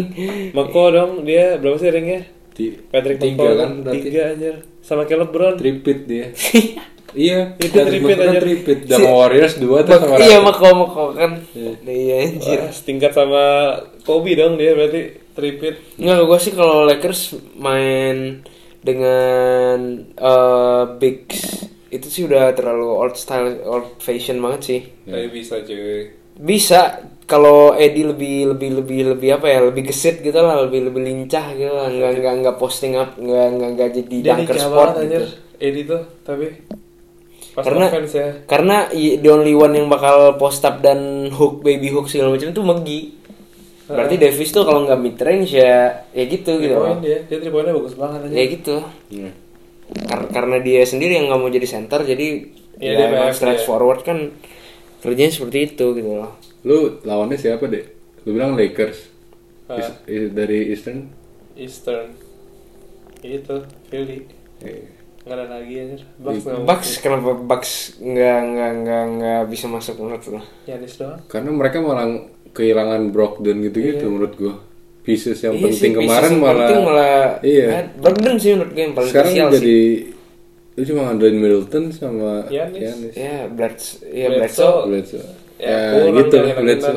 E: Mako dong dia berapa sih ringnya Patrick
D: tiga
E: Mako
D: kan berarti
C: [LAUGHS]
E: tiga anjir sama kayak LeBron
D: tripit dia Iya,
E: Itu tripit aja.
D: aja. Tripit. Sama Warriors dua terus
C: Mak-
D: sama
C: iya
D: Raptors.
C: mako mako kan. Iya anjir.
E: Wah, setingkat Ah, sama Kobe dong dia berarti tripit.
C: Nggak, gue sih kalau Lakers main dengan eh bigs itu sih udah terlalu old style, old fashion banget sih.
E: Tapi bisa cuy.
C: Bisa kalau Edi lebih lebih lebih lebih apa ya lebih gesit gitu lah lebih lebih lincah gitu lah nggak nggak nggak posting up nggak nggak nggak jadi
E: Dia
C: dunker
E: lincah
C: sport
E: banget,
C: gitu.
E: anjir. Edi tuh tapi pas
C: karena
E: offense ya.
C: karena i- the only one yang bakal post up dan hook baby hook segala macam itu Megi berarti Davis tuh kalau nggak mid range ya ya gitu
E: Ah, Three
C: gitu
E: point dia, dia three pointnya bagus banget aja.
C: ya gitu
D: Iya.
C: Kar- karena dia sendiri yang nggak mau jadi center jadi
E: Iya,
C: ya
E: dia
C: emang
E: PF,
C: stretch
E: iya.
C: forward kan kerjanya seperti itu gitu loh
D: Lu lawannya siapa, Dek? Lu bilang Lakers.
E: Ah.
D: Is- is- dari Eastern.
E: Eastern. Itu Philly.
D: Eh,
E: Enggak ada lagi anjir. Bucks enggak
C: Bucks kenapa Bucks nggak nggak nggak nggak bisa masuk menurut lo
E: Yanis doang.
D: Karena mereka malah kehilangan Brogdon gitu-gitu menurut gua. Pieces yang
C: Iya sih, pieces
D: penting kemarin
C: yang
D: malah,
C: penting malah
D: Iya.
C: eh, Brogdon sih menurut gue yang paling
D: Sekarang
C: spesial sih
D: jadi lu cuma ngandelin Middleton sama
E: Giannis.
C: ya Bloods ya
E: Bledsoe.
C: Bledsoe
D: Bledsoe.
E: Ya,
D: Ya,
E: kurang
D: gitu,
E: dari
D: Bledsoe.
E: Middleton.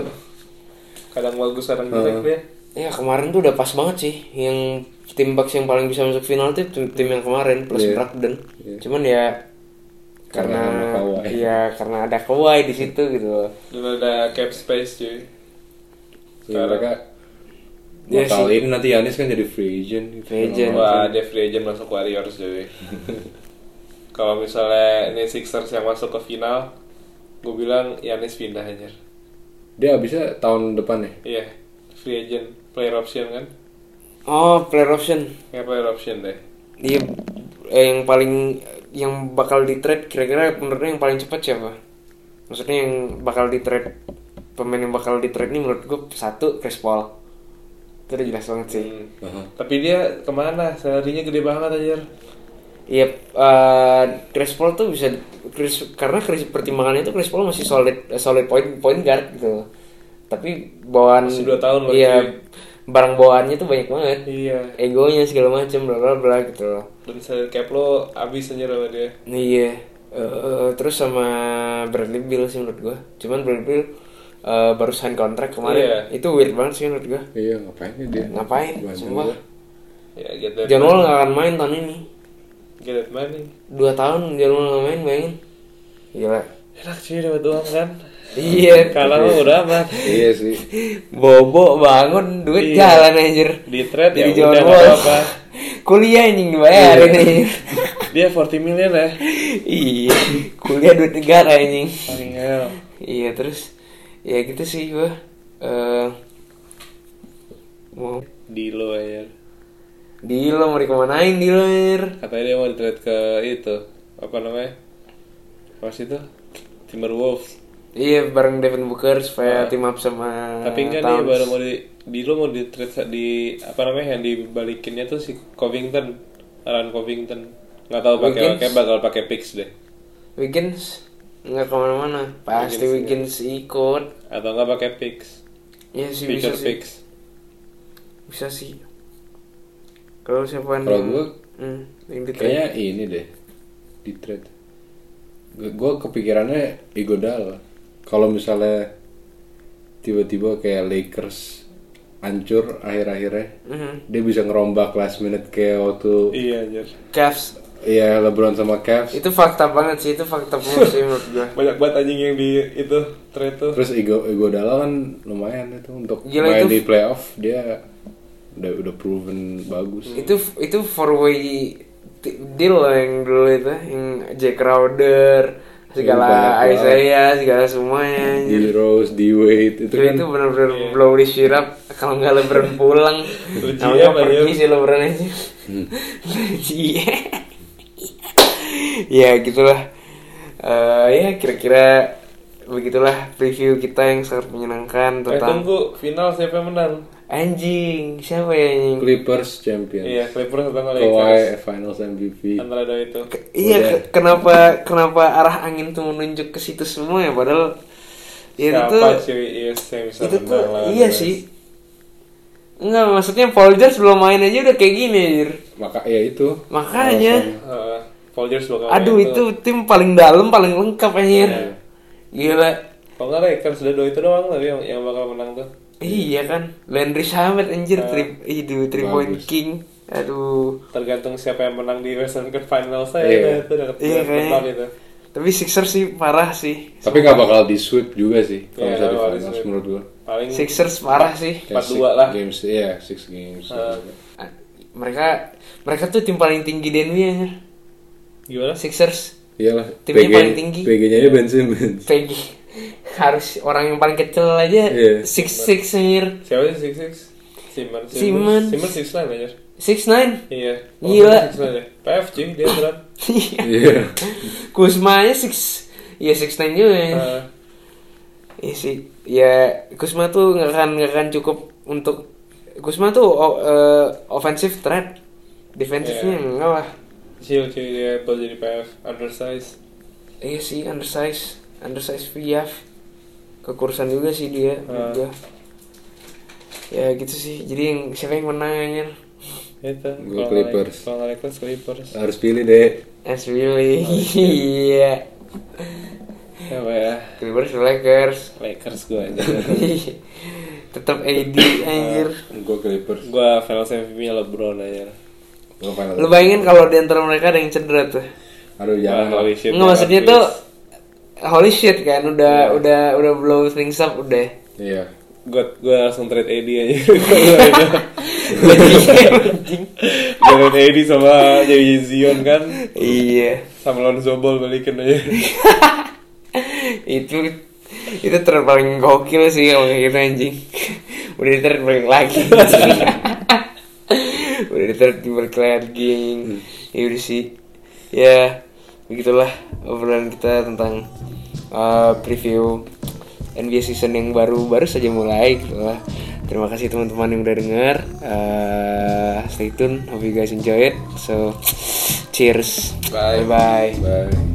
E: Kadang bagus, kadang jelek
D: Ah.
E: dia.
C: Ya kemarin tuh udah pas banget sih yang tim Bucks yang paling bisa masuk final tuh tim, tim yang kemarin plus
D: Iya.
C: Brogdon.
D: Iya.
C: Cuman ya karena
D: Karena ada Kawhi.
C: ya karena ada Kawhi di situ gitu.
E: Dulu ada cap space cuy.
D: Ya, mereka
C: Iya
D: bakal
C: sih.
D: ini nanti Yanis kan jadi free agent gitu.
C: Free agent.
E: Wah, dia free agent masuk Warriors
C: [LAUGHS]
E: cuy. Kalau misalnya ini Sixers yang masuk ke final, gue bilang Yanis pindah anjir.
D: Dia abisnya tahun depan ya.
E: Iya, free agent, player option kan?
C: Oh player option.
E: Kayak player option deh.
C: Dia eh, yang paling yang bakal di trade kira-kira menurut lu yang paling cepat siapa? Maksudnya yang bakal di trade pemain yang bakal di trade ini menurut gue satu Chris Paul. Itu udah jelas banget sih.
E: Hmm. Tapi dia kemana? Salarinya gede banget anjir.
C: Iya, eh, Chris Paul tuh bisa Chris karena Chris pertimbangannya tuh Chris Paul masih solid eh, solid point point guard gitu. Tapi bawaan
E: Masih dua tahun loh,
C: Iya.
E: cuy.
C: Barang bawaannya tuh banyak banget.
E: Iya.
C: Egonya segala macam bla bla bla gitu loh.
E: Dan salary cap lo abis anjir sama dia.
C: Iya. Eh, terus sama Bradley Beal sih menurut gua. Cuman Bradley Beal eh, baru sign kontrak kemarin.
E: Iya.
C: Itu weird banget sih menurut gua.
D: Iya, ngapain ya dia?
C: Ngapain?
D: Banyak
C: Sumpah.
D: banget.
E: Ya, get that,
C: John Wall nggak akan main tahun ini.
E: get that money.
C: Dua tahun John Wall nggak main, bayangin. Gila.
E: Enak cuy dapat uang kan?
C: Iya.
E: Kalau mah udah amat.
D: Iya sih.
C: Bobo bangun duit
E: Iya.
C: jalan anjir.
E: Di trade ya
C: Jadi
E: udah
C: John
E: nggak
C: Wall.
E: apa-apa.
C: [LAUGHS]
E: Iya.
C: Kuliah anjing dibayarin anjir.
E: Dia 40 million ya.
C: iya, kuliah duit negara anjing.
E: Paling hell.
C: Iya, terus ya gitu sih gua. Eh mau
E: Di lo anjir.
C: Dilo mau dikemanain Dilo anjir.
E: Katanya dia mau di trade ke itu apa namanya? Pas itu Timberwolves.
C: Iya bareng Devin Booker supaya tim up sama
E: Ah. Tapi enggak nih
C: Towns.
E: baru mau di di lo mau di trade sa- di apa namanya yang dibalikinnya tuh si Covington, Aaron Covington. Nggak tahu pakai
C: Wiggins.
E: kayak bakal pakai picks deh.
C: Wiggins nggak kemana-mana pasti
E: iya.
C: Wiggins, ikut
E: Atau nggak pakai picks,
C: ya sih bisa
E: future
C: sih
E: picks.
C: bisa sih kalau siapa
D: Kalau gua,
C: hmm, yang di
D: Kayaknya ini deh. Di trade. Gue gua kepikirannya Igodala. Kalau misalnya tiba-tiba kayak Lakers hancur akhir-akhirnya,
C: Mhm.
D: dia bisa ngerombak last minute kayak waktu
E: Iya anjir.
C: Cavs
D: Iya LeBron sama Cavs.
C: itu fakta banget sih itu fakta pun sih menurut gue
E: Banyak banget anjing yang di itu trade tuh.
D: Terus Igo Igodala kan lumayan itu untuk
C: Gila
D: main
C: itu-
D: di playoff dia udah udah proven bagus.
C: itu itu four way t- deal loh yang dulu itu yang Jack Crowder
D: Iya,
C: segala
D: banyak Iya.
C: Isaiah segala semuanya anjir.
D: D Rose, D Wade itu
C: itu,
D: kan
C: itu benar-benar
E: Iya.
C: blow di syrup kalau nggak
E: [LAUGHS]
C: LeBron pulang
E: Lu
C: namanya
E: GM, anjir.
C: pergi sih LeBron aja
E: Hmm.
C: [LAUGHS] Iya. ya gitulah Eh, ya kira-kira begitulah preview kita yang sangat menyenangkan
E: Eh
C: tentang
E: tunggu final siapa yang menang?
C: anjing siapa ya anjing
D: Clippers champion.
E: Iya, Clippers atau Lakers.
D: Kawhi Finals MVP.
E: Antara dua itu.
C: Iya, ke- kenapa kenapa arah angin tuh menunjuk ke situ semua ya? Padahal ya itu tuh,
E: Siapa cuy Yes yang bisa
C: itu tuh
E: menang lawan
C: iya
E: US?
C: sih. Enggak, maksudnya Paul George belum main aja udah kayak gini, anjir.
D: Maka ya itu.
C: Makanya
E: Heeh. Folgers bakal main Iya.
C: Aduh
D: Iya,
C: itu tim paling dalam paling lengkap anjir.
D: Iya.
C: Gila.
E: Kalau nggak Lakers udah dua itu doang tapi yang, yang bakal menang tuh.
C: Iya kan. Landry Shamet
D: Iya.
C: anjir tri itu three point king. Aduh.
E: Tergantung siapa yang menang di Western Conference Finals saya
D: Iya.
E: itu udah
C: Iya,
E: udah
C: kayaknya.
E: terbang itu.
C: Tapi Sixers sih parah sih.
D: Tapi nggak bakal di sweep juga sih kalau
E: Iya,
D: misalnya di
E: nggak bakal
D: finals
E: di-sweep.
D: menurut gua.
E: Paling
C: Sixers parah sih.
D: Kayak
E: 4-2
D: six
E: lah.
D: Games, iya, six games.
C: Ah, Mereka mereka tuh tim paling tinggi di NBA anjir.
E: gimana sih?
C: Sixers.
D: Iyalah.
C: Timnya paling tinggi.
D: PG-nya aja Ben Simmons.
C: [LAUGHS] Peggy harus orang yang paling kecil aja
D: Iya.
C: six six anjir
E: Siapa sih Six Six? Simon.
C: Simmons.
E: Simon Six Nine aja.
C: six nine [LAUGHS]
E: Iya.
C: Gila.
E: Six Nine ya. PFG dia berat.
D: Iya.
C: Kusma nya six ya six nine juga ya
D: Ah.
E: Eh,
C: Iya sih ya Kusma tuh nggak akan nggak akan cukup untuk Kusma tuh o- eh, offensive threat defensifnya
E: Iya.
C: enggak lah
E: Kecil cuy dia pas jadi PF undersize.
C: iya sih undersize undersize Piaf kekurusan juga sih dia
E: Ah.
C: juga ya gitu sih jadi yang siapa yang menang ya kan? anjir
E: Itu.
D: Gua
E: Kalau
D: Clippers.
E: nggak- Kalau nggak Lakers Clippers.
D: Harus pilih deh.
C: As really
E: Oh,
C: [LAUGHS] iya
E: Apa ya?
C: Clippers Lakers [LAUGHS]
E: Lakers gue aja.
C: tetap AD
E: Ah.
C: anjir
D: Gua Clippers.
E: gue Finals MVP nya LeBron aja.
D: Gua final.
C: lu bayangin kalau di antara mereka ada yang cedera tuh
D: Aduh jangan.
E: Holy shit,
C: nggak maksudnya
E: please.
C: tuh holy shit kan
E: Iya.
C: udah udah udah blow things up udah
D: Iya.
E: Gue gue langsung trade AD
C: [LAUGHS]
E: aja.
C: Jadi, anjing.
E: Jalan AD sama jadi Zion kan.
C: iya
E: Sama Lonzo Ball balikin aja.
C: itu itu trend paling gokil sih kalau kayak gitu anjing udah di trend balik lagi udah di trend balik lagi ya udah sih ya begitulah obrolan kita tentang uh, preview NBA season yang baru baru saja mulai gitu lah. terima kasih teman-teman yang udah dengar uh, stay tune hope you guys enjoy it so cheers bye, -bye.
D: Bye.